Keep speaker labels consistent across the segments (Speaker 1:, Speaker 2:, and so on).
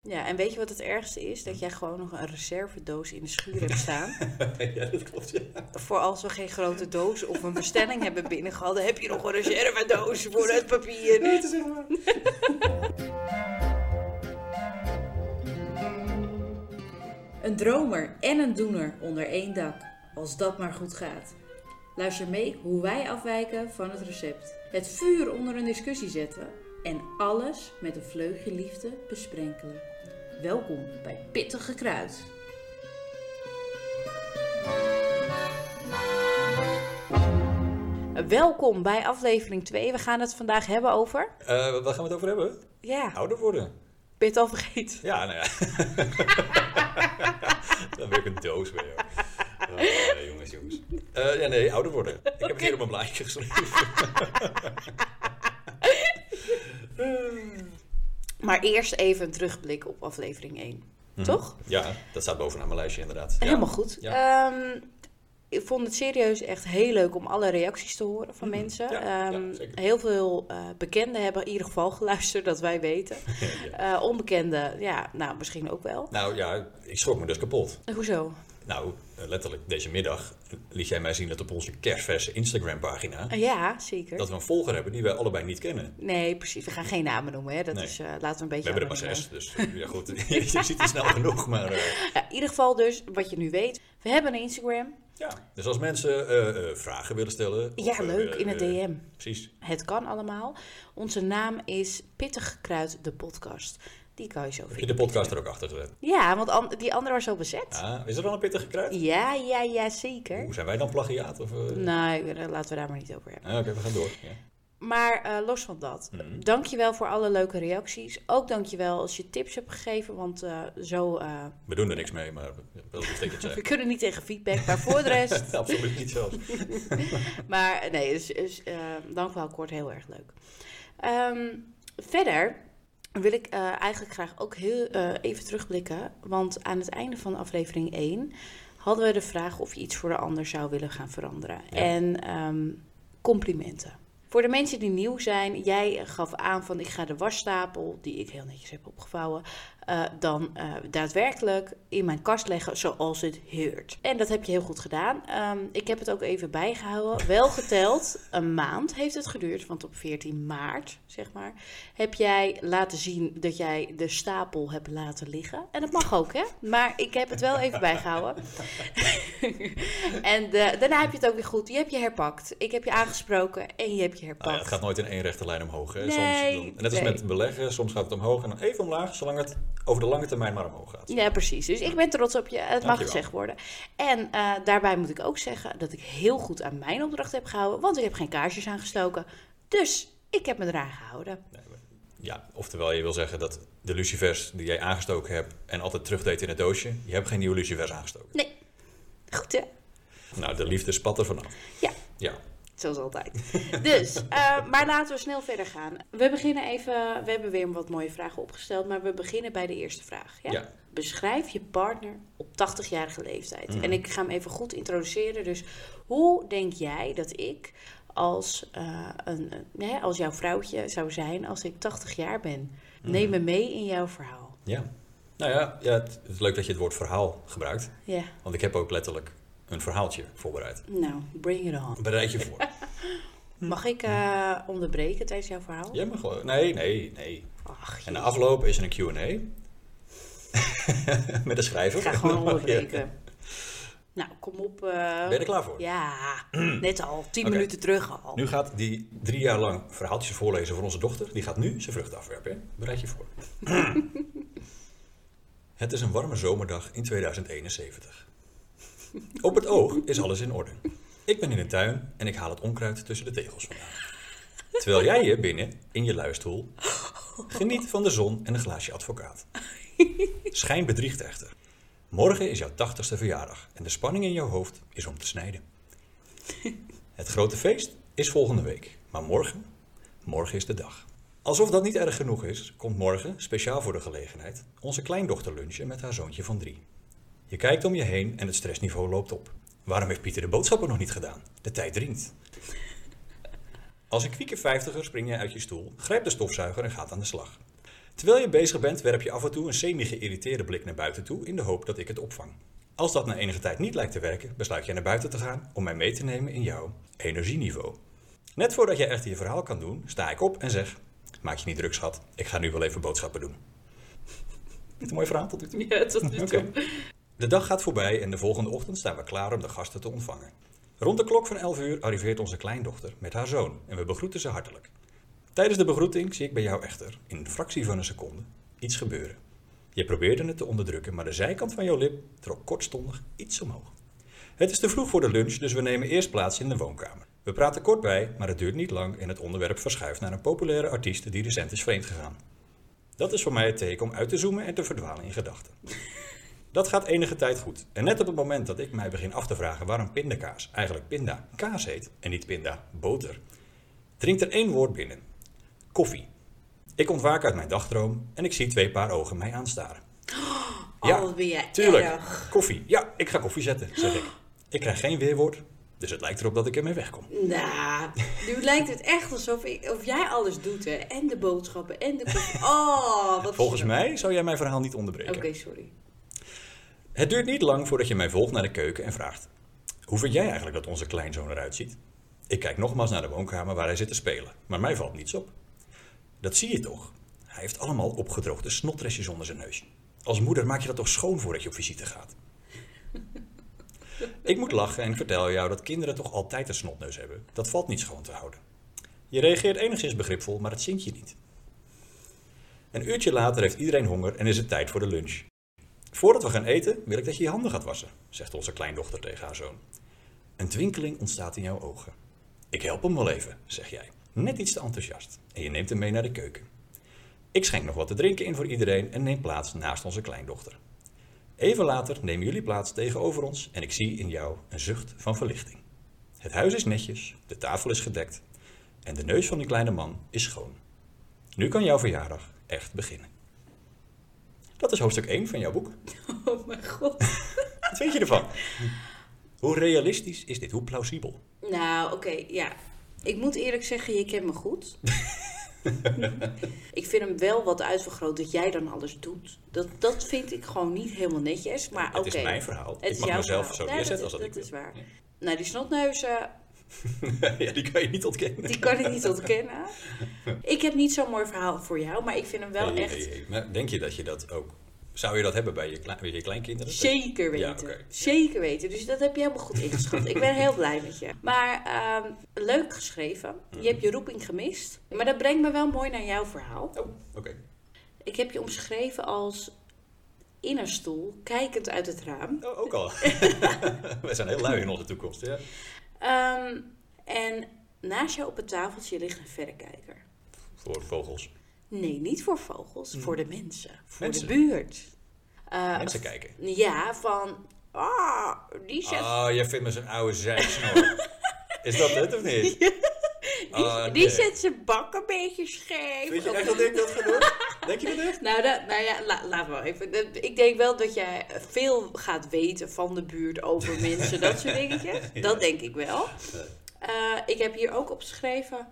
Speaker 1: Ja, en weet je wat het ergste is?
Speaker 2: Hm.
Speaker 1: Dat jij gewoon nog een reservedoos in de schuur hebt staan.
Speaker 2: ja, dat klopt. Ja.
Speaker 1: Voor als we geen grote doos of een bestelling hebben binnengehaald, dan heb je nog een reservedoos voor het papier.
Speaker 2: Nee, het is echt waar.
Speaker 1: Een dromer en een doener onder één dak, als dat maar goed gaat. Luister mee hoe wij afwijken van het recept. Het vuur onder een discussie zetten en alles met een vleugje liefde besprenkelen. Welkom bij Pittige Kruid. Welkom bij aflevering 2. We gaan het vandaag hebben over.
Speaker 2: Eh, waar gaan we het over hebben?
Speaker 1: Ja,
Speaker 2: Ouder worden.
Speaker 1: ben je het al vergeten?
Speaker 2: Ja, nou ja. Dan ben ik een doos weer. joh. Oh, nee, jongens, jongens. Eh, ja, nee, ouder worden. Ik heb het hier op mijn blaadje geschreven.
Speaker 1: Maar eerst even een terugblik op aflevering 1. Toch?
Speaker 2: Ja, dat staat bovenaan mijn lijstje inderdaad. Ja.
Speaker 1: Helemaal goed.
Speaker 2: Ja.
Speaker 1: Ehm, ik vond het serieus echt heel leuk om alle reacties te horen van mensen.
Speaker 2: Mhm. Ja, ja,
Speaker 1: Ehm,
Speaker 2: zeker.
Speaker 1: heel veel eh, bekenden hebben in ieder geval geluisterd, dat wij weten.
Speaker 2: Ja.
Speaker 1: Eh, onbekenden, ja, nou misschien ook wel.
Speaker 2: Nou ja, ik schrok me dus kapot.
Speaker 1: Hoezo?
Speaker 2: Nou, eh, letterlijk deze middag liet jij mij zien dat op onze kerstverse Instagram pagina...
Speaker 1: Eh, ja, zeker.
Speaker 2: dat we een volger hebben die wij allebei niet kennen.
Speaker 1: Nee, precies. We gaan geen namen noemen. Hè. Dat
Speaker 2: Nee.
Speaker 1: is, eh, laten we een
Speaker 2: We
Speaker 1: beetje...
Speaker 2: hebben er maar
Speaker 1: anoniem
Speaker 2: zes, dus eh, ja goed, je ziet het snel genoeg, maar... eh,
Speaker 1: blijven. Ja, in ieder geval dus, wat je nu weet. We hebben een Instagram.
Speaker 2: Ja, dus als mensen eh, eh, vragen willen stellen. of,
Speaker 1: Ja,
Speaker 2: eh,
Speaker 1: leuk, in het
Speaker 2: eh,
Speaker 1: DM.
Speaker 2: Precies.
Speaker 1: Het kan allemaal. Onze naam is Pittig Kruid de Podcast. Die kan je zo
Speaker 2: Heb je
Speaker 1: vinden.
Speaker 2: de podcast er ook achter te zetten?
Speaker 1: Ja, want an- die andere was al bezet.
Speaker 2: Ah, is er wel een pittige kruid?
Speaker 1: Ja, ja, ja, zeker.
Speaker 2: Hoe zijn wij dan plagiaat? Of, eh?
Speaker 1: Nou, ik- eh, laten we daar maar niet over hebben.
Speaker 2: Ah, Oké, we gaan door. Ja.
Speaker 1: Maar eh, los van dat, dankjewel voor alle leuke reacties. Ook dankjewel als je tips hebt gegeven, want eh, zo... eh,
Speaker 2: We doen er niks mee, maar wel een steekje
Speaker 1: we
Speaker 2: check.
Speaker 1: kunnen niet tegen feedback, maar voor de rest...
Speaker 2: Absoluut niet zelfs.
Speaker 1: Maar eh, nee, dus, dus eh, dankjewel Kort, heel erg leuk. Ehm, verder wil ik eh, eigenlijk graag ook heel eh, even terugblikken. Want aan het einde van aflevering 1 hadden we de vraag of je iets voor de ander zou willen gaan veranderen.
Speaker 2: Ja.
Speaker 1: En ehm, complimenten. Voor de mensen die nieuw zijn, jij gaf aan van ik ga de wasstapel, die ik heel netjes heb opgevouwen, eh, dan eh, daadwerkelijk in mijn kast leggen zoals het heurt. En dat heb je heel goed gedaan. Ehm, ik heb het ook even bijgehouden. Wel geteld, een maand heeft het geduurd, want op 14 maart, zeg maar, heb jij laten zien dat jij de stapel hebt laten liggen. En dat mag ook, hè? Maar ik heb het wel even bijgehouden. en eh, daarna heb je het ook weer goed. Je hebt je herpakt. Ik heb je aangesproken en je hebt je herpakt.
Speaker 2: Ah, ja, het gaat nooit in één rechte lijn omhoog. Hè.
Speaker 1: Nee,
Speaker 2: soms, dan- net als
Speaker 1: nee.
Speaker 2: met beleggen, soms gaat het omhoog en dan even omlaag, zolang het over de lange termijn maar omhoog gaat.
Speaker 1: Ja, precies. Dus ik ben trots op je. Het mag
Speaker 2: Dankjewel.
Speaker 1: gezegd worden. En eh, daarbij moet ik ook zeggen dat ik heel goed aan mijn opdracht heb gehouden, want ik heb geen kaarsjes aangestoken. Dus ik heb me eraan gehouden.
Speaker 2: Ja, oftewel je wil zeggen dat de lucifers die jij aangestoken hebt en altijd terugdeed in het doosje, je hebt geen nieuwe lucifers aangestoken.
Speaker 1: Nee. Goed hè?
Speaker 2: Nou, de liefde spat er vanaf.
Speaker 1: Ja,
Speaker 2: Ja,
Speaker 1: zoals altijd. Dus, eh, maar laten we snel verder gaan. We beginnen even. We hebben weer wat mooie vragen opgesteld, maar we beginnen bij de eerste vraag. Ja?
Speaker 2: Ja.
Speaker 1: Beschrijf je partner op 80-jarige leeftijd.
Speaker 2: Mm.
Speaker 1: En ik ga hem even goed introduceren. Dus hoe denk jij dat ik als, eh, een, een- hè, als jouw vrouwtje zou zijn als ik 80 jaar ben?
Speaker 2: Mm.
Speaker 1: Neem me mee in jouw verhaal.
Speaker 2: Ja. Nou ja, ja het, het is leuk dat je het woord verhaal gebruikt.
Speaker 1: Ja,
Speaker 2: Want ik heb ook letterlijk een verhaaltje voorbereid.
Speaker 1: nou, bring it on.
Speaker 2: Bereid je voor. Mm.
Speaker 1: Mag ik eh, onderbreken tijdens jouw verhaal?
Speaker 2: Jij mag wel. Nee, nee, nee.
Speaker 1: Ach,
Speaker 2: En nou,
Speaker 1: jeetje.
Speaker 2: na afloop is er een Q&A. Met een schrijver.
Speaker 1: Ik ga gewoon onderbreken. Nou, kom op. eh,
Speaker 2: Ben je er klaar voor? Mm.
Speaker 1: Ja, net al. Tien
Speaker 2: Oké.
Speaker 1: minuten terug al.
Speaker 2: Nu gaat die drie jaar lang verhaaltjes voorlezen voor onze dochter. Die gaat nu zijn vrucht afwerpen. hè? Bereid je voor. het is een warme zomerdag in 2071. Op het oog is alles in orde. Ik ben in de tuin en ik haal het onkruid tussen de tegels vandaan. Terwijl jij je binnen in je luistoel geniet van de zon en een glaasje advocaat. Schijn bedriegt echter. Morgen is jouw 80ste verjaardag en de spanning in jouw hoofd is om te snijden. Het grote feest is volgende week, maar morgen, morgen is de dag. Alsof dat niet erg genoeg is, komt morgen, speciaal voor de gelegenheid, onze kleindochter lunchen met haar zoontje van drie. Je kijkt om je heen en het stressniveau loopt op. Waarom heeft Pieter de boodschappen nog niet gedaan? De tijd dringt. Als een kwieke vijftiger spring jij uit je stoel, grijpt de stofzuiger en gaat aan de slag. Terwijl je bezig bent, werp je af en toe een semi-geïrriteerde blik naar buiten toe in de hoop dat ik het opvang. Als dat na enige tijd niet lijkt te werken, besluit jij naar buiten te gaan om mij mee te nemen in jouw energieniveau. Net voordat jij echt je verhaal kan doen, sta ik op en zeg: Maak je niet druk, schat, ik ga nu wel even boodschappen doen. Vind een mooi verhaal tot nu toe?
Speaker 1: Ja, tot nu toe.
Speaker 2: Oké. De dag gaat voorbij en de volgende ochtend staan we klaar om de gasten te ontvangen. Rond de klok van 11 uur arriveert onze kleindochter met haar zoon en we begroeten ze hartelijk. Tijdens de begroeting zie ik bij jou echter, in een fractie van een seconde, iets gebeuren. Je probeerde het te onderdrukken, maar de zijkant van jouw lip trok kortstondig iets omhoog. Het is te vroeg voor de lunch, dus we nemen eerst plaats in de woonkamer. We praten kort bij, maar het duurt niet lang en het onderwerp verschuift naar een populaire artiest die recent is vreemd gegaan. Dat is voor mij het teken om uit te zoomen en te verdwalen in gedachten. Dat gaat enige tijd goed. En net op het moment dat ik mij begin af te vragen waarom pindakaas eigenlijk pinda kaas heet en niet pinda boter, dringt er één woord binnen: koffie. Ik ontwaak uit mijn dagdroom en ik zie twee paar ogen mij aanstaren. Ja,
Speaker 1: Oh, ben jij
Speaker 2: tuurlijk.
Speaker 1: erg.
Speaker 2: Koffie. Ja, ik ga koffie zetten, zeg ik. Ik krijg geen weerwoord, dus het lijkt erop dat ik ermee wegkom.
Speaker 1: Nou, nu lijkt het echt alsof ik, of jij alles doet, hè? En de boodschappen en de koffie. Oh, wat
Speaker 2: Volgens mij zou jij mijn verhaal niet onderbreken.
Speaker 1: Oké, sorry.
Speaker 2: Het duurt niet lang voordat je mij volgt naar de keuken en vraagt: Hoe vind jij eigenlijk dat onze kleinzoon eruit ziet? Ik kijk nogmaals naar de woonkamer waar hij zit te spelen, maar mij valt niets op. Dat zie je toch? Hij heeft allemaal opgedroogde snotrestjes onder zijn neus. Als moeder maak je dat toch schoon voordat je op visite gaat? Ik moet lachen en vertel jou dat kinderen toch altijd een snotneus hebben. Dat valt niet schoon te houden. Je reageert enigszins begripvol, maar het zinkt je niet. Een uurtje later heeft iedereen honger en is het tijd voor de lunch. Voordat we gaan eten, wil ik dat je je handen gaat wassen, zegt onze kleindochter tegen haar zoon. Een twinkeling ontstaat in jouw ogen. Ik help hem wel even, zeg jij, net iets te enthousiast, en je neemt hem mee naar de keuken. Ik schenk nog wat te drinken in voor iedereen en neem plaats naast onze kleindochter. Even later nemen jullie plaats tegenover ons en ik zie in jou een zucht van verlichting. Het huis is netjes, de tafel is gedekt en de neus van die kleine man is schoon. Nu kan jouw verjaardag echt beginnen. Dat is hoofdstuk 1 van jouw boek.
Speaker 1: Oh mijn god.
Speaker 2: Wat vind je ervan? Hoe realistisch is dit? Hoe plausibel?
Speaker 1: Nou, oké, ja. Ik moet eerlijk zeggen, je kent me goed. ik vind hem wel wat uitvergroot dat jij dan alles doet. Dat, dat vind ik gewoon niet helemaal netjes. Maar oké.
Speaker 2: Het is mijn verhaal.
Speaker 1: Het
Speaker 2: ik
Speaker 1: is
Speaker 2: mag
Speaker 1: jouw
Speaker 2: mezelf
Speaker 1: verhaal.
Speaker 2: zo
Speaker 1: Nee,
Speaker 2: neerzetten
Speaker 1: dat
Speaker 2: als dat
Speaker 1: is-
Speaker 2: ik
Speaker 1: dat is waar. Nou, die snotneuzen,
Speaker 2: wil. ja, die kan je niet ontkennen.
Speaker 1: die kan ik niet ontkennen. Ik heb niet zo'n mooi verhaal voor jou, maar ik vind hem wel
Speaker 2: Hey,
Speaker 1: echt
Speaker 2: hey, hey. Maar denk je dat je dat ook... Zou je dat hebben bij je, kle- bij je kleinkinderen?
Speaker 1: Zeker weten.
Speaker 2: Ja, oké.
Speaker 1: Zeker weten. Dus dat heb je helemaal goed ingeschat. ik ben heel blij met je. Maar ehm, leuk geschreven.
Speaker 2: Mhm.
Speaker 1: Je hebt je roeping gemist. Maar dat brengt me wel mooi naar jouw verhaal.
Speaker 2: Oh, oké.
Speaker 1: Ik heb je omschreven als in een stoel, kijkend uit het raam.
Speaker 2: Oh, ook al. Wij zijn heel lui in onze toekomst. Ja.
Speaker 1: Ehm, en naast jou op het tafeltje ligt een verrekijker.
Speaker 2: Voor vogels.
Speaker 1: Nee, niet voor vogels, voor de mensen. Voor
Speaker 2: Mhm. Mensen.
Speaker 1: de buurt. Eh,
Speaker 2: Mensen kijken.
Speaker 1: ja, van. Ah, die zet
Speaker 2: Oh, jij vindt me zo'n oude zijsnor. is dat het of niet?
Speaker 1: Die,
Speaker 2: Ah,
Speaker 1: die
Speaker 2: nee.
Speaker 1: zet zijn bak een beetje scheef.
Speaker 2: Weet je
Speaker 1: Of-
Speaker 2: echt dat ik dat ga doen? Denk je dat echt?
Speaker 1: Nou, dat, nou ja, la, laat maar even. Dat- Ik denk wel dat jij veel gaat weten van de buurt over mensen, dat soort dingetjes. Dat denk ik wel. Eh, ik heb hier ook opgeschreven: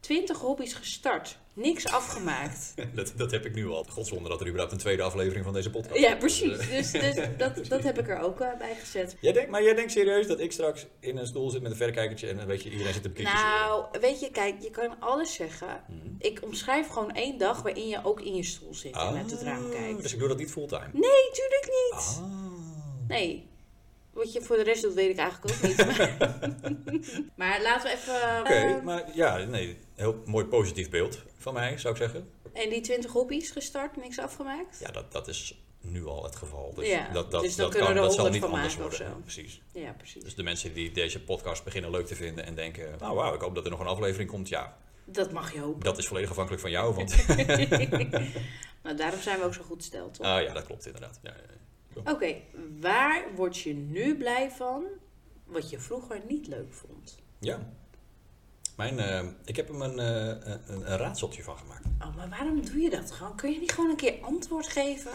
Speaker 1: 20 hobby's gestart, niks afgemaakt.
Speaker 2: Dat, dat heb ik nu al. Godzonder dat er überhaupt een tweede aflevering van deze podcast
Speaker 1: Ja,
Speaker 2: komt.
Speaker 1: precies. Dus, dus dat, dat heb ik er ook eh, bij gezet.
Speaker 2: Jij denkt, maar jij denkt serieus dat ik straks in een stoel zit met een verrekijkertje en een beetje iedereen zit te bekritiseren?
Speaker 1: Nou, weet je, kijk, je kan alles zeggen. Ik omschrijf gewoon één dag waarin je ook in je stoel zit en uit het raam kijkt.
Speaker 2: Ah. Dus ik doe dat niet fulltime.
Speaker 1: Nee, tuurlijk niet.
Speaker 2: Ah.
Speaker 1: Nee. Wat je voor de rest doet, weet ik eigenlijk ook niet. Maar, maar laten we even... eh,
Speaker 2: Oké, maar ja, nee, heel mooi positief beeld van mij, zou ik zeggen.
Speaker 1: eh, En die 20 hobby's gestart, niks afgemaakt?
Speaker 2: Ja, dat, dat is nu al het geval. Dus
Speaker 1: Ja,
Speaker 2: dat, dat,
Speaker 1: dus dan
Speaker 2: dat,
Speaker 1: kunnen
Speaker 2: kan,
Speaker 1: we er
Speaker 2: dat zal
Speaker 1: 100
Speaker 2: niet
Speaker 1: van
Speaker 2: anders
Speaker 1: maken of
Speaker 2: worden.
Speaker 1: zo.
Speaker 2: Precies.
Speaker 1: Ja, precies.
Speaker 2: Dus de mensen die deze podcast beginnen leuk te vinden en denken, nou wauw, ik hoop dat er nog een aflevering komt. Ja,
Speaker 1: Dat mag je hopen.
Speaker 2: dat is volledig afhankelijk van jou, want...
Speaker 1: nou, daarom zijn we ook zo goed steld, toch?
Speaker 2: Ah ja, dat klopt inderdaad. Ja, ja, ja.
Speaker 1: Oké, waar word je nu blij van wat je vroeger niet leuk vond?
Speaker 2: Ja. Mijn, eh, ik heb hem een, eh, een, een raadseltje van gemaakt.
Speaker 1: Oh, maar waarom doe je dat gewoon? Kun je niet gewoon een keer antwoord geven?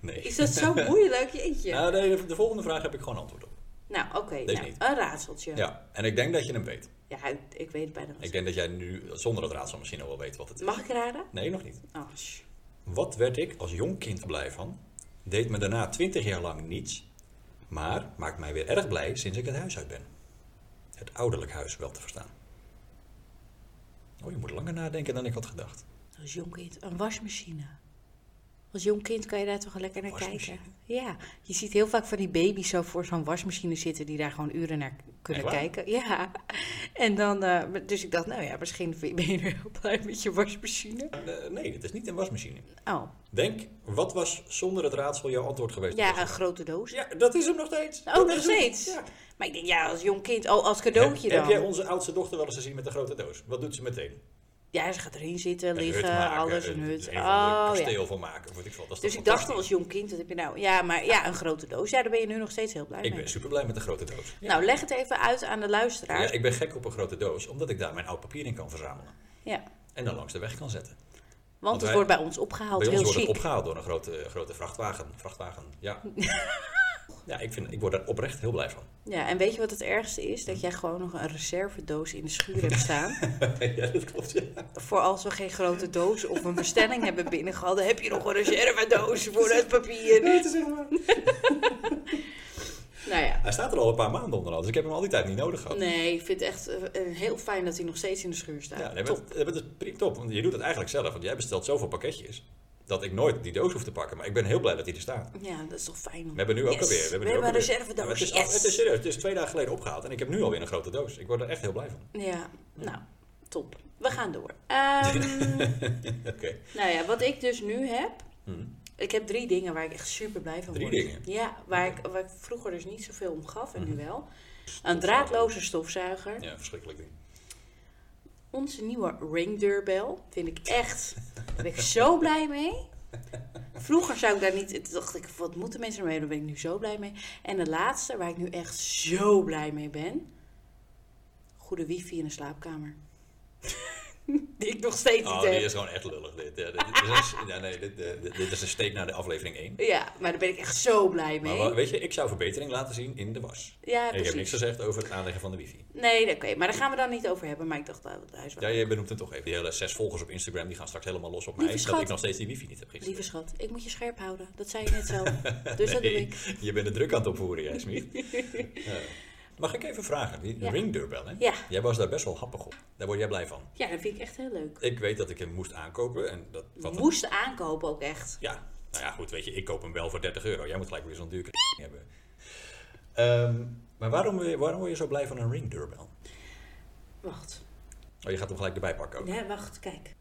Speaker 2: Nee.
Speaker 1: Is dat zo moeilijk? Jeetje.
Speaker 2: Nou, nee, de, de volgende vraag heb ik gewoon antwoord op.
Speaker 1: nou, oké.
Speaker 2: Deze
Speaker 1: nou,
Speaker 2: niet.
Speaker 1: een raadseltje.
Speaker 2: Ja. en ik denk dat je hem weet.
Speaker 1: Ja, ik, ik weet bijna wat.
Speaker 2: Ik denk dat jij nu zonder het raadsel misschien al wel weet wat het is.
Speaker 1: Mag ik raden?
Speaker 2: Nee, nog niet.
Speaker 1: Oh, sh-
Speaker 2: Wat werd ik als jong kind blij van? Deed me daarna 20 jaar lang niets, maar maakt mij weer erg blij sinds ik het huis uit ben. Het ouderlijk huis wel te verstaan. Oh, je moet langer nadenken dan ik had gedacht.
Speaker 1: Als jong kind, een wasmachine. Als jong kind kan je daar toch lekker naar kijken.
Speaker 2: Wasmachine?
Speaker 1: Ja, je ziet heel vaak van die baby's zo voor zo'n wasmachine zitten die daar gewoon uren naar kunnen
Speaker 2: Echt waar?
Speaker 1: kijken. Ja, en dan, eh, dus ik dacht, nou ja, misschien ben je nu heel blij met je wasmachine.
Speaker 2: Eh, nee, het is niet een wasmachine.
Speaker 1: Oh,
Speaker 2: Denk, wat was zonder het raadsel jouw antwoord geweest?
Speaker 1: ja, een grote doos.
Speaker 2: Ja, dat is hem nog steeds.
Speaker 1: Oh,
Speaker 2: Dat
Speaker 1: nog
Speaker 2: is hem.
Speaker 1: steeds?
Speaker 2: Ja.
Speaker 1: Maar ik denk, ja, als jong kind, oh, als cadeautje
Speaker 2: heb,
Speaker 1: dan.
Speaker 2: heb jij onze oudste dochter wel eens gezien met een grote doos? Wat doet ze meteen?
Speaker 1: Ja, ze gaat erin zitten,
Speaker 2: Een hut
Speaker 1: liggen,
Speaker 2: maken,
Speaker 1: alles,
Speaker 2: een-
Speaker 1: een hut.
Speaker 2: een
Speaker 1: Oh,
Speaker 2: of ander
Speaker 1: ja.
Speaker 2: kasteel van maken, of weet ik veel. Dat is
Speaker 1: Dus
Speaker 2: toch
Speaker 1: ik dacht al als
Speaker 2: fantastisch?
Speaker 1: jong kind, wat heb je nou? Ja, maar ja, een grote doos. Ja, daar ben je nu nog steeds heel blij
Speaker 2: Ik
Speaker 1: mee.
Speaker 2: ben super blij met de grote doos. Ja.
Speaker 1: Nou, leg het even uit aan de luisteraar.
Speaker 2: Ja, ik ben gek op een grote doos, omdat ik daar mijn oud papier in kan verzamelen.
Speaker 1: Ja,
Speaker 2: En dan langs de weg kan zetten.
Speaker 1: want het
Speaker 2: wij-
Speaker 1: wordt bij ons opgehaald,
Speaker 2: Bij ons
Speaker 1: heel
Speaker 2: wordt
Speaker 1: chic.
Speaker 2: het opgehaald door een grote, eh, grote vrachtwagen. vrachtwagen. Ja, ja ik, vind, ik word daar oprecht heel blij van.
Speaker 1: Ja, en weet je wat het ergste is? Dat jij gewoon nog een reservedoos in de schuur hebt staan.
Speaker 2: ja, dat klopt. Ja.
Speaker 1: voor als we geen grote doos of een bestelling hebben binnengehad, dan heb je nog een reservedoos voor het papier.
Speaker 2: Nee, het is echt waar.
Speaker 1: Nou ja.
Speaker 2: Hij staat er al een paar maanden onderhand, dus ik heb hem al die tijd niet nodig gehad.
Speaker 1: Nee, ik vind het echt eh, eh, heel fijn dat hij nog steeds in de schuur staat.
Speaker 2: Ja, nee, maar
Speaker 1: Top.
Speaker 2: het, het is pri- top, want je doet het eigenlijk zelf, want jij bestelt zoveel pakketjes dat ik nooit die doos hoef te pakken. Maar ik ben heel blij dat die er staat.
Speaker 1: Ja, dat is toch fijn.
Speaker 2: We hebben nu ook
Speaker 1: Yes,
Speaker 2: alweer.
Speaker 1: We
Speaker 2: nu ook
Speaker 1: hebben een
Speaker 2: alweer-
Speaker 1: reservedoos.
Speaker 2: Ja, Het is, al-
Speaker 1: Nou, yes.
Speaker 2: het is serieus, het is twee dagen geleden opgehaald en ik heb nu alweer een grote doos. Ik word er echt heel blij van.
Speaker 1: Ja, nou, top. We gaan door. Ehm,
Speaker 2: Oké.
Speaker 1: nou ja, wat ik dus nu heb.
Speaker 2: Hm.
Speaker 1: Ik heb drie dingen waar ik echt super blij van
Speaker 2: Drie
Speaker 1: word.
Speaker 2: dingen? Hmm.
Speaker 1: Ja, waar, ik, waar ik vroeger dus niet zoveel om gaf en nu wel. Een draadloze stofzuiger.
Speaker 2: Ja, verschrikkelijk ding.
Speaker 1: Onze nieuwe ringdeurbel. Vind ik echt. Daar ben ik zo blij mee. Vroeger zou ik daar niet. toen dacht ik, wat moeten mensen ermee? Daar ben ik nu zo blij mee. En de laatste, waar ik nu echt zo blij mee ben. Goede wifi in de slaapkamer. Die ik nog steeds
Speaker 2: Oh,
Speaker 1: niet
Speaker 2: dit
Speaker 1: heb.
Speaker 2: is gewoon echt lullig. Dit, ja, dit, dit is, ja, nee, dit, eh, dit- dit is een steek naar de aflevering 1.
Speaker 1: Ja, maar daar ben ik echt zo blij
Speaker 2: Maar
Speaker 1: mee.
Speaker 2: wa- weet je, ik zou verbetering laten zien in de was.
Speaker 1: ja,
Speaker 2: ik heb
Speaker 1: precies.
Speaker 2: niks gezegd over het aanleggen van de wifi.
Speaker 1: Nee, oké, maar daar gaan we dan niet over hebben. Maar ik dacht, nou, dat is wel.
Speaker 2: Ja, je benoemt het toch even. Die hele zes volgers op Instagram die gaan straks helemaal los op mij.
Speaker 1: Lieve
Speaker 2: Dat
Speaker 1: schat.
Speaker 2: ik nog steeds die wifi niet heb gisteren.
Speaker 1: Lieve schat, ik moet je scherp houden. Dat zei je net zelf. Dus dat doe
Speaker 2: Nee,
Speaker 1: ik.
Speaker 2: Je bent de druk aan het opvoeren, jij Smit. Ja. Mag ik even vragen? Die
Speaker 1: Ja.
Speaker 2: ringdeurbel, hè?
Speaker 1: Ja.
Speaker 2: Jij was daar best wel happig op. Daar word jij blij van.
Speaker 1: Ja, dat vind ik echt heel leuk.
Speaker 2: Ik weet dat ik hem moest aankopen. En dat, wat dat-
Speaker 1: Moest aankopen ook echt.
Speaker 2: Ja, nou ja, goed, weet je, ik koop hem wel voor 30 euro. Jij moet gelijk weer zo'n duur k- hebben. Ehm, maar waarom, wil je- waarom word je zo blij van een ringdeurbel?
Speaker 1: Wacht.
Speaker 2: Oh, je gaat hem gelijk erbij pakken ook.
Speaker 1: Ja, wacht, kijk.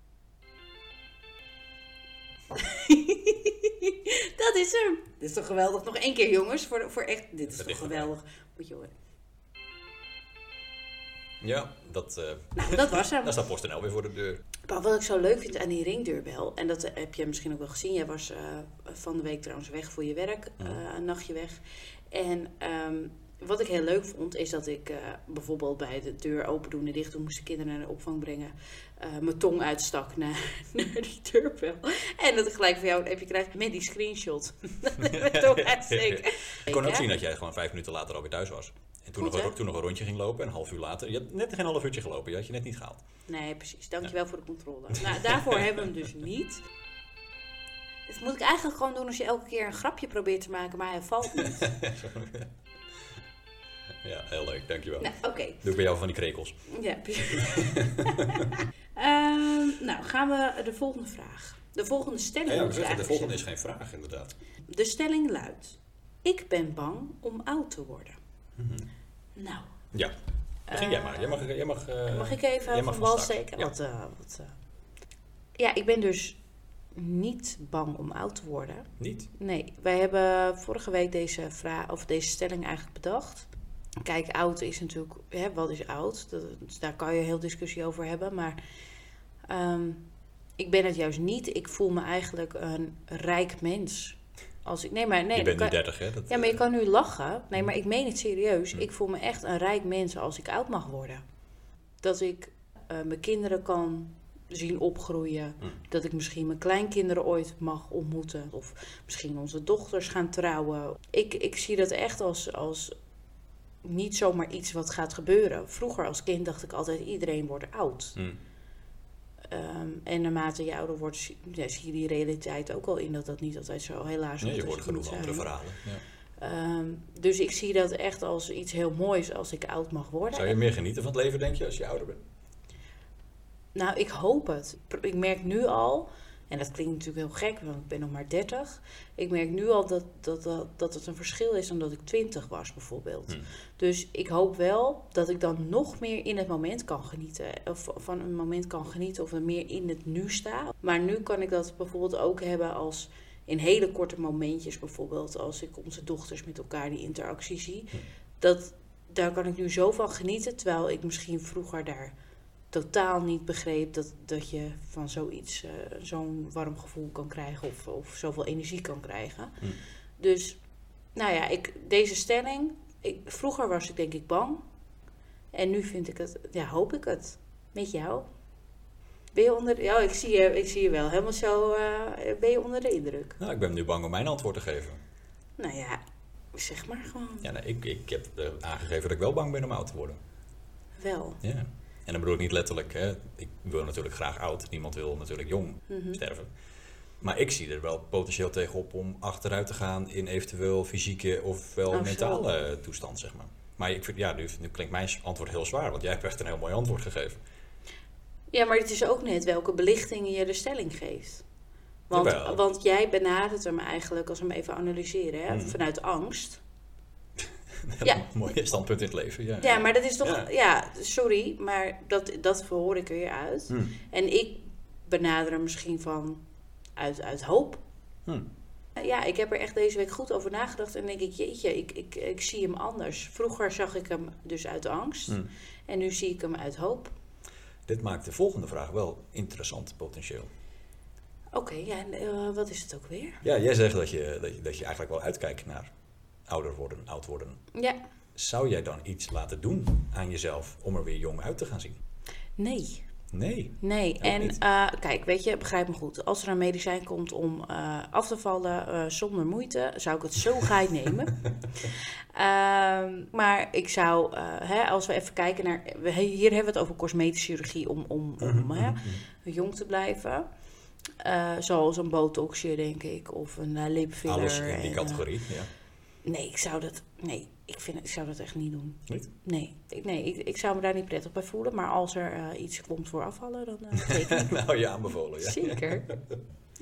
Speaker 1: dat is hem. Dit is toch geweldig? Nog één keer, jongens. Voor, voor echt, dit is toch
Speaker 2: Dat ligt erbij.
Speaker 1: geweldig. Moet je horen.
Speaker 2: Ja, dat, eh
Speaker 1: Nou, dat was hem.
Speaker 2: daar staat PostNL weer voor de deur.
Speaker 1: Maar wat ik zo leuk vind aan die ringdeurbel, en dat eh, heb je misschien ook wel gezien. Jij was eh, van de week trouwens weg voor je werk, eh, een nachtje weg. En ehm, wat ik heel leuk vond, is dat ik eh, bijvoorbeeld bij de deur open doen en dicht doen, moest de kinderen naar de opvang brengen. eh, mijn tong uitstak naar, naar die deurbel. En dat ik gelijk van jou een appje krijg met die screenshot. mijn tong uitsteek.
Speaker 2: Ik kon ook
Speaker 1: Ja.
Speaker 2: zien dat jij gewoon vijf minuten later alweer thuis was. En toen,
Speaker 1: Goed,
Speaker 2: nog, een-
Speaker 1: hè?
Speaker 2: toen nog een rondje ging lopen, en een half uur later. Je hebt net geen half uurtje gelopen, je had je net niet gehaald.
Speaker 1: Nee, precies. Dankjewel voor de controle. Nou, daarvoor hebben we hem dus niet. Dat moet ik eigenlijk gewoon doen als je elke keer een grapje probeert te maken, maar hij valt niet.
Speaker 2: Ja, heel leuk, dankjewel.
Speaker 1: Nou, oké.
Speaker 2: Doe ik bij jou van die krekels.
Speaker 1: Ja. Ehm, nou, gaan we de volgende vraag. De volgende stelling.
Speaker 2: Ja, ja, we
Speaker 1: moet ik
Speaker 2: zeggen, de volgende
Speaker 1: eigenlijk
Speaker 2: is geen vraag, inderdaad.
Speaker 1: zeggen. De stelling luidt: Ik ben bang om oud te worden. Nou,
Speaker 2: Ja, Mhm. begin jij maar. Jij mag, jij mag, eh,
Speaker 1: mag ik even
Speaker 2: jij mag
Speaker 1: van wal
Speaker 2: start.
Speaker 1: steken?
Speaker 2: Ja.
Speaker 1: Wat, eh, wat, eh. ja, ik ben dus niet bang om oud te worden.
Speaker 2: Niet?
Speaker 1: Nee, wij hebben vorige week deze, vraag, of deze stelling eigenlijk bedacht. Kijk, oud is natuurlijk, hè, wat is oud? Dat, daar kan je heel discussie over hebben. Maar ehm, ik ben het juist niet. Ik voel me eigenlijk een rijk mens. Als ik, nee, maar nee.
Speaker 2: je bent
Speaker 1: dat
Speaker 2: nu
Speaker 1: kan-
Speaker 2: 30, hè? Dat,
Speaker 1: ja, maar je
Speaker 2: eh,
Speaker 1: kan nu lachen. Nee, maar ik meen het serieus. Ik voel me echt een rijk mens als ik oud mag worden. Dat ik eh, mijn kinderen kan zien opgroeien.
Speaker 2: Hm.
Speaker 1: Dat ik misschien mijn kleinkinderen ooit mag ontmoeten. Of misschien onze dochters gaan trouwen. Ik, ik zie dat echt als, als niet zomaar iets wat gaat gebeuren. Vroeger als kind dacht ik altijd iedereen wordt oud.
Speaker 2: hm.
Speaker 1: Ehm, en naarmate je ouder wordt, zie, ja, zie je die realiteit ook al in dat dat niet altijd zo helaas
Speaker 2: Nee, je
Speaker 1: altijd
Speaker 2: hoort
Speaker 1: moet
Speaker 2: genoeg
Speaker 1: zijn.
Speaker 2: andere verhalen. Ja.
Speaker 1: Ehm, dus ik zie dat echt als iets heel moois als ik oud mag worden.
Speaker 2: Zou je meer genieten van het leven, denk je, als je ouder bent?
Speaker 1: Nou, ik hoop het. Ik merk nu al, en dat klinkt natuurlijk heel gek, want ik ben nog maar 30. Ik merk nu al dat, dat, dat, dat het een verschil is dan dat ik 20 was, bijvoorbeeld.
Speaker 2: Hmm.
Speaker 1: Dus ik hoop wel dat ik dan nog meer in het moment kan genieten. Of van een moment kan genieten of er meer in het nu sta. Maar nu kan ik dat bijvoorbeeld ook hebben als. In hele korte momentjes bijvoorbeeld, als ik onze dochters met elkaar die interactie zie.
Speaker 2: Hmm.
Speaker 1: Dat, daar kan ik nu zo van genieten, terwijl ik misschien vroeger daar totaal niet begreep dat, dat je van zoiets eh, zo'n warm gevoel kan krijgen of, of zoveel energie kan krijgen.
Speaker 2: Hmm.
Speaker 1: Dus nou ja, ik, deze stelling, ik, vroeger was ik denk ik bang en nu vind ik het, ja hoop ik het, met jou. Ben je onder, ja ik zie je, ik zie je wel, helemaal zo, eh, ben je onder de indruk?
Speaker 2: Nou, ik ben nu bang om mijn antwoord te geven.
Speaker 1: Nou ja, zeg maar gewoon,
Speaker 2: Ja, nee, ik, ik heb eh, aangegeven dat ik wel bang ben om oud te worden.
Speaker 1: wel.
Speaker 2: Ja. En dan bedoel ik niet letterlijk, hè. ik wil natuurlijk graag oud. Niemand wil natuurlijk jong
Speaker 1: Mhm.
Speaker 2: sterven. Maar ik zie er wel potentieel tegen op om achteruit te gaan in eventueel fysieke ofwel
Speaker 1: Oh, zo.
Speaker 2: mentale eh, toestand, zeg maar. Maar ik vind, ja, nu, nu klinkt mijn antwoord heel zwaar, want jij hebt echt een heel mooi antwoord gegeven.
Speaker 1: Ja, maar het is ook net welke belichting je de stelling geeft. Want,
Speaker 2: Jawel.
Speaker 1: want jij benadert hem eigenlijk, als we hem even analyseren, hè,
Speaker 2: Mhm.
Speaker 1: vanuit angst.
Speaker 2: Een
Speaker 1: Ja.
Speaker 2: mooi standpunt in het leven. Ja,
Speaker 1: Ja, maar dat is toch...
Speaker 2: Ja.
Speaker 1: Ja, sorry, maar dat, dat verhoor ik er weer uit.
Speaker 2: Hm.
Speaker 1: En ik benader hem misschien van uit, uit hoop.
Speaker 2: Hm.
Speaker 1: Ja, ik heb er echt deze week goed over nagedacht en denk ik, jeetje, ik, ik, ik zie hem anders. Vroeger zag ik hem dus uit angst
Speaker 2: Hm.
Speaker 1: en nu zie ik hem uit hoop.
Speaker 2: Dit maakt de volgende vraag wel interessant potentieel.
Speaker 1: Oké, ja, en eh, wat is het ook weer?
Speaker 2: Ja, jij zegt dat je, dat je, dat je eigenlijk wel uitkijkt naar ouder worden, oud worden.
Speaker 1: Ja,
Speaker 2: Zou jij dan iets laten doen aan jezelf om er weer jong uit te gaan zien?
Speaker 1: nee.
Speaker 2: Nee.
Speaker 1: Nee, en
Speaker 2: niet.
Speaker 1: eh, kijk, weet je, begrijp me goed. Als er een medicijn komt om eh, af te vallen eh, zonder moeite, zou ik het zo graag nemen. Ehm, maar ik zou, eh, hè, als we even kijken naar. we- Hier hebben we het over cosmetische chirurgie om, om,
Speaker 2: Mhm,
Speaker 1: om hè, jong te blijven. Eh, zoals een botoxje, denk ik, of een eh, lipfiller.
Speaker 2: Alles in
Speaker 1: en,
Speaker 2: die
Speaker 1: eh,
Speaker 2: categorie, ja.
Speaker 1: nee, ik zou dat. Nee, ik, vind, het- ik zou dat echt niet doen.
Speaker 2: Niet?
Speaker 1: Nee, ik, nee ik, ik zou me daar niet prettig bij voelen. Maar als er eh, iets komt voor afvallen, dan eh, zeker.
Speaker 2: nou, je aanbevolen, ja.
Speaker 1: Zeker.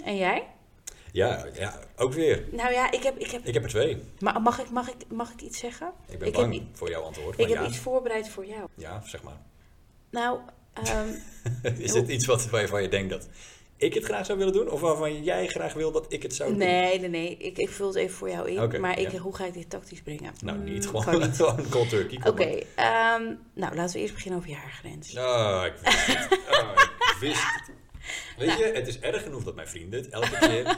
Speaker 1: En jij?
Speaker 2: Ja, ja, ook weer.
Speaker 1: Nou ja, ik heb. Ik heb
Speaker 2: Ik heb er twee.
Speaker 1: ma- mag, ik, mag, ik, mag ik iets zeggen?
Speaker 2: Ik ben
Speaker 1: Ik heb
Speaker 2: bang
Speaker 1: i-
Speaker 2: voor jouw antwoord.
Speaker 1: Ik
Speaker 2: Maar
Speaker 1: heb
Speaker 2: ja,
Speaker 1: iets voorbereid voor jou.
Speaker 2: ja, zeg maar.
Speaker 1: Nou, ehm,
Speaker 2: Is dit iets wat, waarvan je denkt dat ik het graag zou willen doen? Of waarvan jij graag wil dat ik het zou doen?
Speaker 1: nee, nee, nee. Ik, ik vul het even voor jou in.
Speaker 2: Oké,
Speaker 1: maar ik,
Speaker 2: ja.
Speaker 1: hoe ga ik dit tactisch brengen?
Speaker 2: Nou,
Speaker 1: Mm,
Speaker 2: niet.
Speaker 1: kan
Speaker 2: Gewoon,
Speaker 1: niet.
Speaker 2: gewoon cold turkey.
Speaker 1: Oké,
Speaker 2: kom maar.
Speaker 1: ehm, nou laten we eerst beginnen over je haargrens.
Speaker 2: Ah, ik wist het. Ah, ik wist het. Weet
Speaker 1: Nou.
Speaker 2: je, het is erg genoeg dat mijn vrienden het elke keer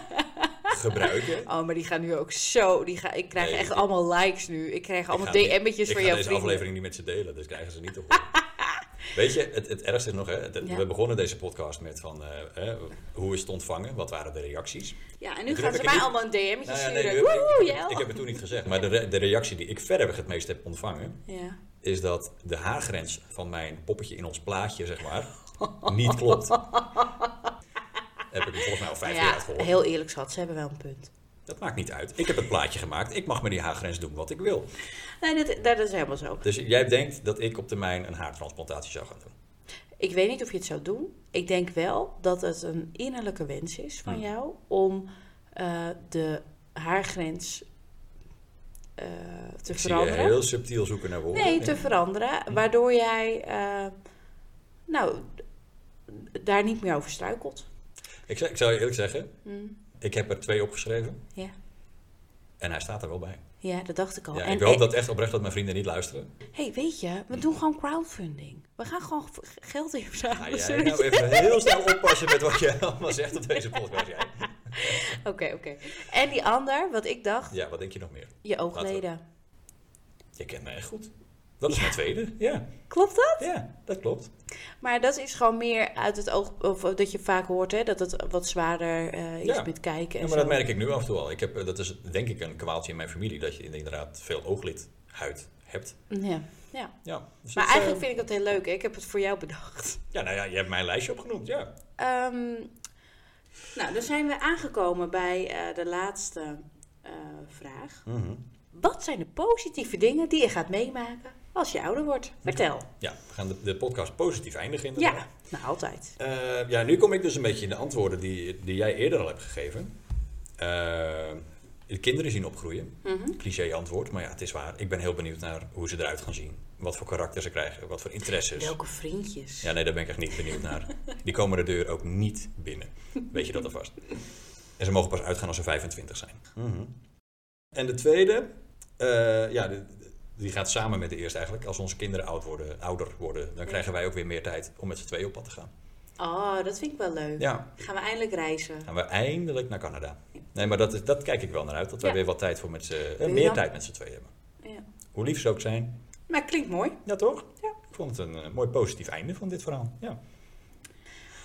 Speaker 2: gebruiken.
Speaker 1: Oh, maar die gaan nu ook zo. Die ga, ik krijg
Speaker 2: Nee,
Speaker 1: echt
Speaker 2: ik-
Speaker 1: allemaal likes nu. Ik krijg allemaal
Speaker 2: Ik ga niet-
Speaker 1: DM'tjes van
Speaker 2: Ik ga
Speaker 1: jouw
Speaker 2: deze
Speaker 1: vrienden.
Speaker 2: aflevering niet met ze delen, dus krijgen ze niet te horen. Weet je, het, het ergste is nog, hè, het- het-
Speaker 1: Ja.
Speaker 2: we begonnen deze podcast met van, eh, eh, hoe is het ontvangen? Wat waren de reacties?
Speaker 1: Ja, en
Speaker 2: Ik
Speaker 1: nu gaan
Speaker 2: druk
Speaker 1: ze
Speaker 2: er
Speaker 1: mij
Speaker 2: niet-
Speaker 1: allemaal een DM'tje
Speaker 2: Nou ja, nee,
Speaker 1: sturen.
Speaker 2: ik, heb-
Speaker 1: Woehoe,
Speaker 2: ik, heb het-
Speaker 1: Jel.
Speaker 2: ik heb het toen niet gezegd, maar de, re- de reactie die ik verder het meest heb ontvangen,
Speaker 1: Ja.
Speaker 2: is dat de haargrens van mijn poppetje in ons plaatje, zeg maar, niet klopt. heb ik volgens mij al vijf jaar
Speaker 1: ja,
Speaker 2: gehoord.
Speaker 1: heel eerlijk schat, ze hebben wel een punt.
Speaker 2: Dat maakt niet uit. Ik heb het plaatje gemaakt. Ik mag met die haargrens doen wat ik wil.
Speaker 1: Nee, dat, dat is helemaal zo.
Speaker 2: Dus jij denkt dat ik op termijn een haartransplantatie zou gaan doen.
Speaker 1: Ik weet niet of je het zou doen. Ik denk wel dat het een innerlijke wens is van
Speaker 2: Hmm.
Speaker 1: jou om eh, de haargrens eh, te
Speaker 2: Ik zie je
Speaker 1: veranderen.
Speaker 2: heel Hmm. subtiel zoeken naar woorden.
Speaker 1: Nee,
Speaker 2: Ja.
Speaker 1: te veranderen. Waardoor jij eh, nou, d- daar niet meer over struikelt.
Speaker 2: ik, zou- ik zou je eerlijk zeggen,
Speaker 1: Hmm.
Speaker 2: ik heb er twee opgeschreven.
Speaker 1: Ja.
Speaker 2: En hij staat er wel bij.
Speaker 1: Ja, dat dacht ik al.
Speaker 2: Ja,
Speaker 1: Oh, en e- Oh,
Speaker 2: ik hoop dat echt oprecht dat mijn vrienden niet luisteren.
Speaker 1: hey, weet je, we doen gewoon crowdfunding. We gaan gewoon v- geld
Speaker 2: Ga
Speaker 1: inzamelen.
Speaker 2: jij
Speaker 1: zodat je-
Speaker 2: nou even heel snel oppassen met wat jij allemaal zegt op deze podcast. Jij.
Speaker 1: Oké, oké. En die ander, wat ik dacht,
Speaker 2: Ja, wat denk je nog meer?
Speaker 1: je
Speaker 2: we-
Speaker 1: oogleden.
Speaker 2: Je kent me echt goed. Dat is mijn tweede. Ja,
Speaker 1: Klopt dat?
Speaker 2: ja dat klopt.
Speaker 1: Maar dat is gewoon meer uit het oog, of dat je vaak hoort hè, dat het wat zwaarder eh, is
Speaker 2: Ja.
Speaker 1: met kijken.
Speaker 2: Ja,
Speaker 1: En
Speaker 2: maar dat
Speaker 1: zo.
Speaker 2: merk ik nu af en toe al. Ik heb, eh, dat is denk ik een kwaaltje in mijn familie, dat je inderdaad veel ooglidhuid hebt.
Speaker 1: Ja. ja.
Speaker 2: Ja, dus dat,
Speaker 1: Maar
Speaker 2: eh,
Speaker 1: eigenlijk vind ik dat heel leuk. Hè? Ik heb het voor jou bedacht.
Speaker 2: ja, nou ja, je hebt mijn lijstje opgenoemd, ja.
Speaker 1: Ehm, nou, dan zijn we aangekomen bij eh, de laatste eh, vraag.
Speaker 2: Mhm.
Speaker 1: Wat zijn de positieve dingen die je gaat meemaken als je ouder wordt? Vertel.
Speaker 2: Ja, we gaan de, de podcast positief eindigen inderdaad.
Speaker 1: Ja, nou altijd.
Speaker 2: Eh, ja, nu kom ik dus een beetje in de antwoorden die, die jij eerder al hebt gegeven. Eh, de kinderen zien opgroeien. Cliché antwoord, maar ja, het is waar. Ik ben heel benieuwd naar hoe ze eruit gaan zien. Wat voor karakter ze krijgen, wat voor interesses.
Speaker 1: Welke vriendjes?
Speaker 2: Dus- Ja, nee, daar ben ik echt niet benieuwd naar. Die komen de deur ook niet binnen. Weet je dat alvast. En ze mogen pas uitgaan als ze 25 zijn. En de tweede, eh, ja, de- die gaat samen met de eerste eigenlijk. Als onze kinderen oud worden, ouder worden, dan krijgen wij ook weer meer tijd om met z'n tweeën op pad te gaan.
Speaker 1: Oh, dat vind ik wel leuk.
Speaker 2: Ja,
Speaker 1: Gaan we eindelijk reizen?
Speaker 2: gaan we eindelijk naar Canada. Nee, maar dat, is- dat kijk ik wel naar uit. Dat wij
Speaker 1: Ja.
Speaker 2: weer wat tijd voor met z'n, eh,
Speaker 1: je
Speaker 2: meer
Speaker 1: dan?
Speaker 2: tijd met z'n tweeën hebben.
Speaker 1: Ja.
Speaker 2: Hoe lief ze ook zijn.
Speaker 1: Nou, klinkt mooi.
Speaker 2: Ja, toch?
Speaker 1: Ja.
Speaker 2: Ik vond het een eh, mooi positief einde van dit verhaal. Ja.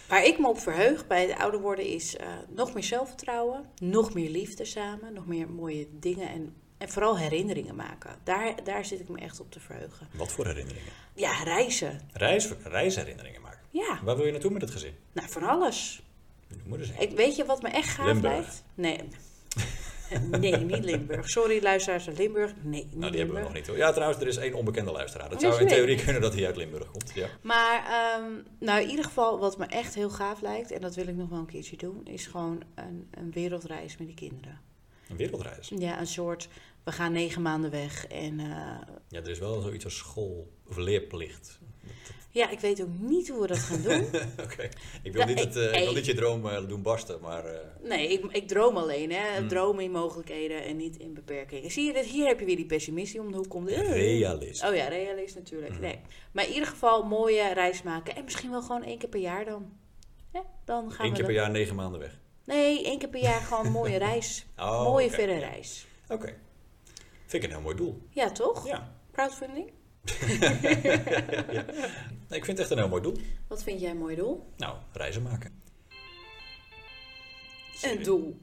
Speaker 1: Waar ik me op verheug bij het ouder worden is eh, nog meer zelfvertrouwen, nog meer liefde samen, nog meer mooie dingen en, en vooral herinneringen maken. Daar, daar zit ik me echt op te verheugen.
Speaker 2: Wat voor herinneringen.
Speaker 1: Ja, reizen.
Speaker 2: Reis, reisherinneringen maken.
Speaker 1: Ja,
Speaker 2: Waar wil je naartoe met het gezin?
Speaker 1: nou van alles.
Speaker 2: Noem maar eens een.
Speaker 1: Ik, weet je wat me echt gaaf
Speaker 2: Limburg.
Speaker 1: lijkt? Nee. nee, niet Limburg. Sorry luisteraars uit Limburg. Nee, niet
Speaker 2: Nou, die hebben we
Speaker 1: Limburg.
Speaker 2: nog niet hoor. Ja, trouwens, er is één onbekende luisteraar. Dat
Speaker 1: Oh,
Speaker 2: zou in
Speaker 1: sorry.
Speaker 2: theorie kunnen dat hij uit Limburg komt. Ja.
Speaker 1: Maar ehm, nou, in ieder geval wat me echt heel gaaf lijkt, en dat wil ik nog wel een keertje doen, is gewoon een, een wereldreis met die kinderen.
Speaker 2: Een wereldreis.
Speaker 1: Ja, een soort, we gaan negen maanden weg en eh,
Speaker 2: Ja, er is wel zoiets als school of leerplicht.
Speaker 1: ja, ik weet ook niet hoe we dat gaan doen.
Speaker 2: Oké. Ik, wil
Speaker 1: Nou,
Speaker 2: niet
Speaker 1: ik-
Speaker 2: het, eh, ik wil
Speaker 1: hey.
Speaker 2: niet je droom eh, doen barsten, maar eh,
Speaker 1: Nee, ik, ik droom alleen, hè.
Speaker 2: Hmm.
Speaker 1: Dromen in mogelijkheden en niet in beperkingen. Zie je dit? Hier heb je weer die pessimist die om de hoek komt. Eh.
Speaker 2: realist.
Speaker 1: Oh ja, realist natuurlijk.
Speaker 2: Hmm.
Speaker 1: Nee. Maar in ieder geval mooie reis maken. En misschien wel gewoon één keer per jaar dan. Hè? Dan gaan
Speaker 2: Eén
Speaker 1: we
Speaker 2: keer per
Speaker 1: dat-
Speaker 2: jaar, negen maanden weg.
Speaker 1: Nee, één keer per jaar gewoon een mooie reis.
Speaker 2: Oh,
Speaker 1: mooie
Speaker 2: oké.
Speaker 1: verre reis.
Speaker 2: Oké. Vind ik een heel mooi doel.
Speaker 1: Ja, toch?
Speaker 2: Ja.
Speaker 1: Crowdfunding.
Speaker 2: Nee, ik vind het echt een heel mooi doel.
Speaker 1: Wat vind jij een mooi doel?
Speaker 2: Nou, reizen maken.
Speaker 1: Een doel.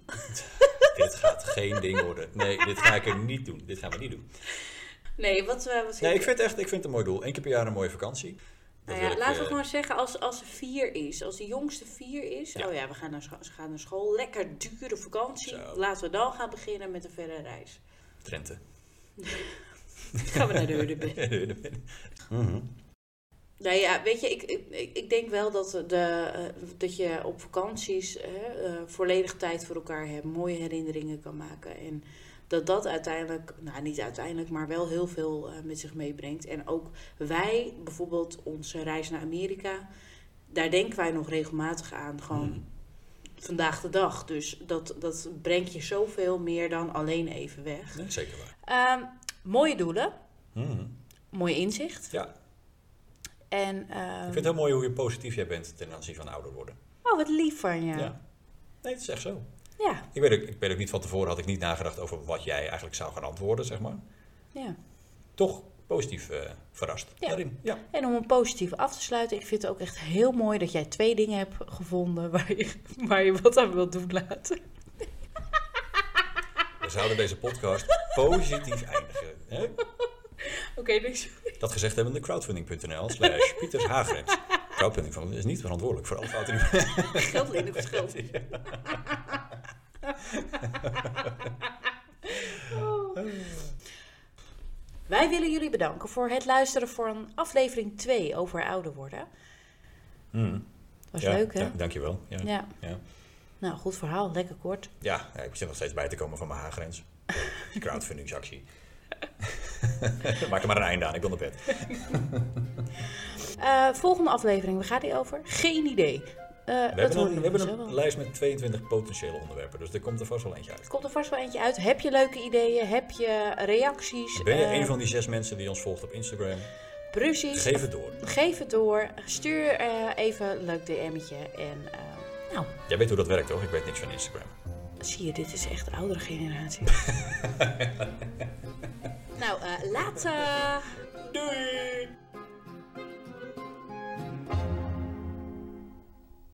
Speaker 2: Dit gaat geen ding worden. Nee, dit ga ik er niet doen. Dit gaan we niet doen.
Speaker 1: Nee, wat, eh, wat
Speaker 2: Nee, ik vind het echt ik vind het een mooi doel. Eén keer per jaar een mooie vakantie. Dat
Speaker 1: Nou
Speaker 2: wil
Speaker 1: ja,
Speaker 2: ik,
Speaker 1: laten we
Speaker 2: eh,
Speaker 1: gewoon zeggen, als, als ze vier is, als de jongste vier is,
Speaker 2: Ja.
Speaker 1: oh ja, we gaan naar, scho- ze gaan naar school, lekker dure vakantie.
Speaker 2: Zo.
Speaker 1: Laten we dan gaan beginnen met een verre reis.
Speaker 2: Drenthe.
Speaker 1: Dan gaan we naar de Hudebed.
Speaker 2: Mhm.
Speaker 1: Nou ja, weet je, ik, ik, ik- ik denk wel dat, de, eh, dat je op vakanties hè, eh, volledig tijd voor elkaar hebt, mooie herinneringen kan maken. En dat dat uiteindelijk, nou niet uiteindelijk, maar wel heel veel eh, met zich meebrengt. En ook wij, bijvoorbeeld onze reis naar Amerika, daar denken wij nog regelmatig aan, gewoon
Speaker 2: Mhm.
Speaker 1: vandaag de dag. Dus dat, dat brengt je zoveel meer dan alleen even weg.
Speaker 2: Nee, zeker waar.
Speaker 1: Ehm, mooie doelen,
Speaker 2: Mhm.
Speaker 1: mooi inzicht.
Speaker 2: Ja,
Speaker 1: En,
Speaker 2: ik
Speaker 1: ehm,
Speaker 2: vind het heel mooi hoe je positief jij bent ten aanzien van ouder worden.
Speaker 1: oh, wat lief van je.
Speaker 2: Ja. Nee, het is echt zo.
Speaker 1: Ja,
Speaker 2: Ik weet, ook, ik weet ook niet van tevoren, had ik niet nagedacht over wat jij eigenlijk zou gaan antwoorden, zeg maar.
Speaker 1: ja.
Speaker 2: Toch positief eh, verrast
Speaker 1: Ja.
Speaker 2: daarin. Ja.
Speaker 1: En om een positief af te sluiten, ik vind het ook echt heel mooi dat jij twee dingen hebt gevonden waar je, waar je wat aan wilt doen later.
Speaker 2: We zouden deze podcast positief eindigen. Hè?
Speaker 1: Oké, dus
Speaker 2: Dat gezegd hebben de crowdfunding.nl slash Pieters Haagrems. Crowdfunding van, is niet verantwoordelijk voor alle fouten die we
Speaker 1: geld lenen of geld. Oh. Wij willen jullie bedanken voor het luisteren voor een aflevering 2 over ouder worden. Was
Speaker 2: Hmm. Ja,
Speaker 1: leuk, hè?
Speaker 2: ja, dankjewel. Ja. Ja.
Speaker 1: Ja.
Speaker 2: Ja.
Speaker 1: Nou, goed verhaal. Lekker kort.
Speaker 2: ja, ik zit nog steeds bij te komen van mijn haargrens. Crowdfundingsactie. Maak er maar een einde aan, ik wil naar bed.
Speaker 1: Eh, volgende aflevering, waar gaat die over? Geen idee. Eh, dat
Speaker 2: We hebben,
Speaker 1: horen
Speaker 2: een, we
Speaker 1: jullie
Speaker 2: hebben
Speaker 1: vanzelf
Speaker 2: een
Speaker 1: wel.
Speaker 2: lijst met 22 potentiële onderwerpen, dus er komt er vast wel eentje uit.
Speaker 1: Er komt er vast wel eentje uit. Heb je leuke ideeën? Heb je reacties?
Speaker 2: Ben je
Speaker 1: Eh,
Speaker 2: een van die zes mensen die ons volgt op Instagram?
Speaker 1: Precies.
Speaker 2: Geef het door.
Speaker 1: Geef het door. Stuur eh, even een leuk DM'tje. En eh, nou,
Speaker 2: Jij weet hoe dat werkt, toch? Ik weet niks van Instagram.
Speaker 1: zie je, dit is echt de oudere generatie. nou, eh later.
Speaker 2: Doei!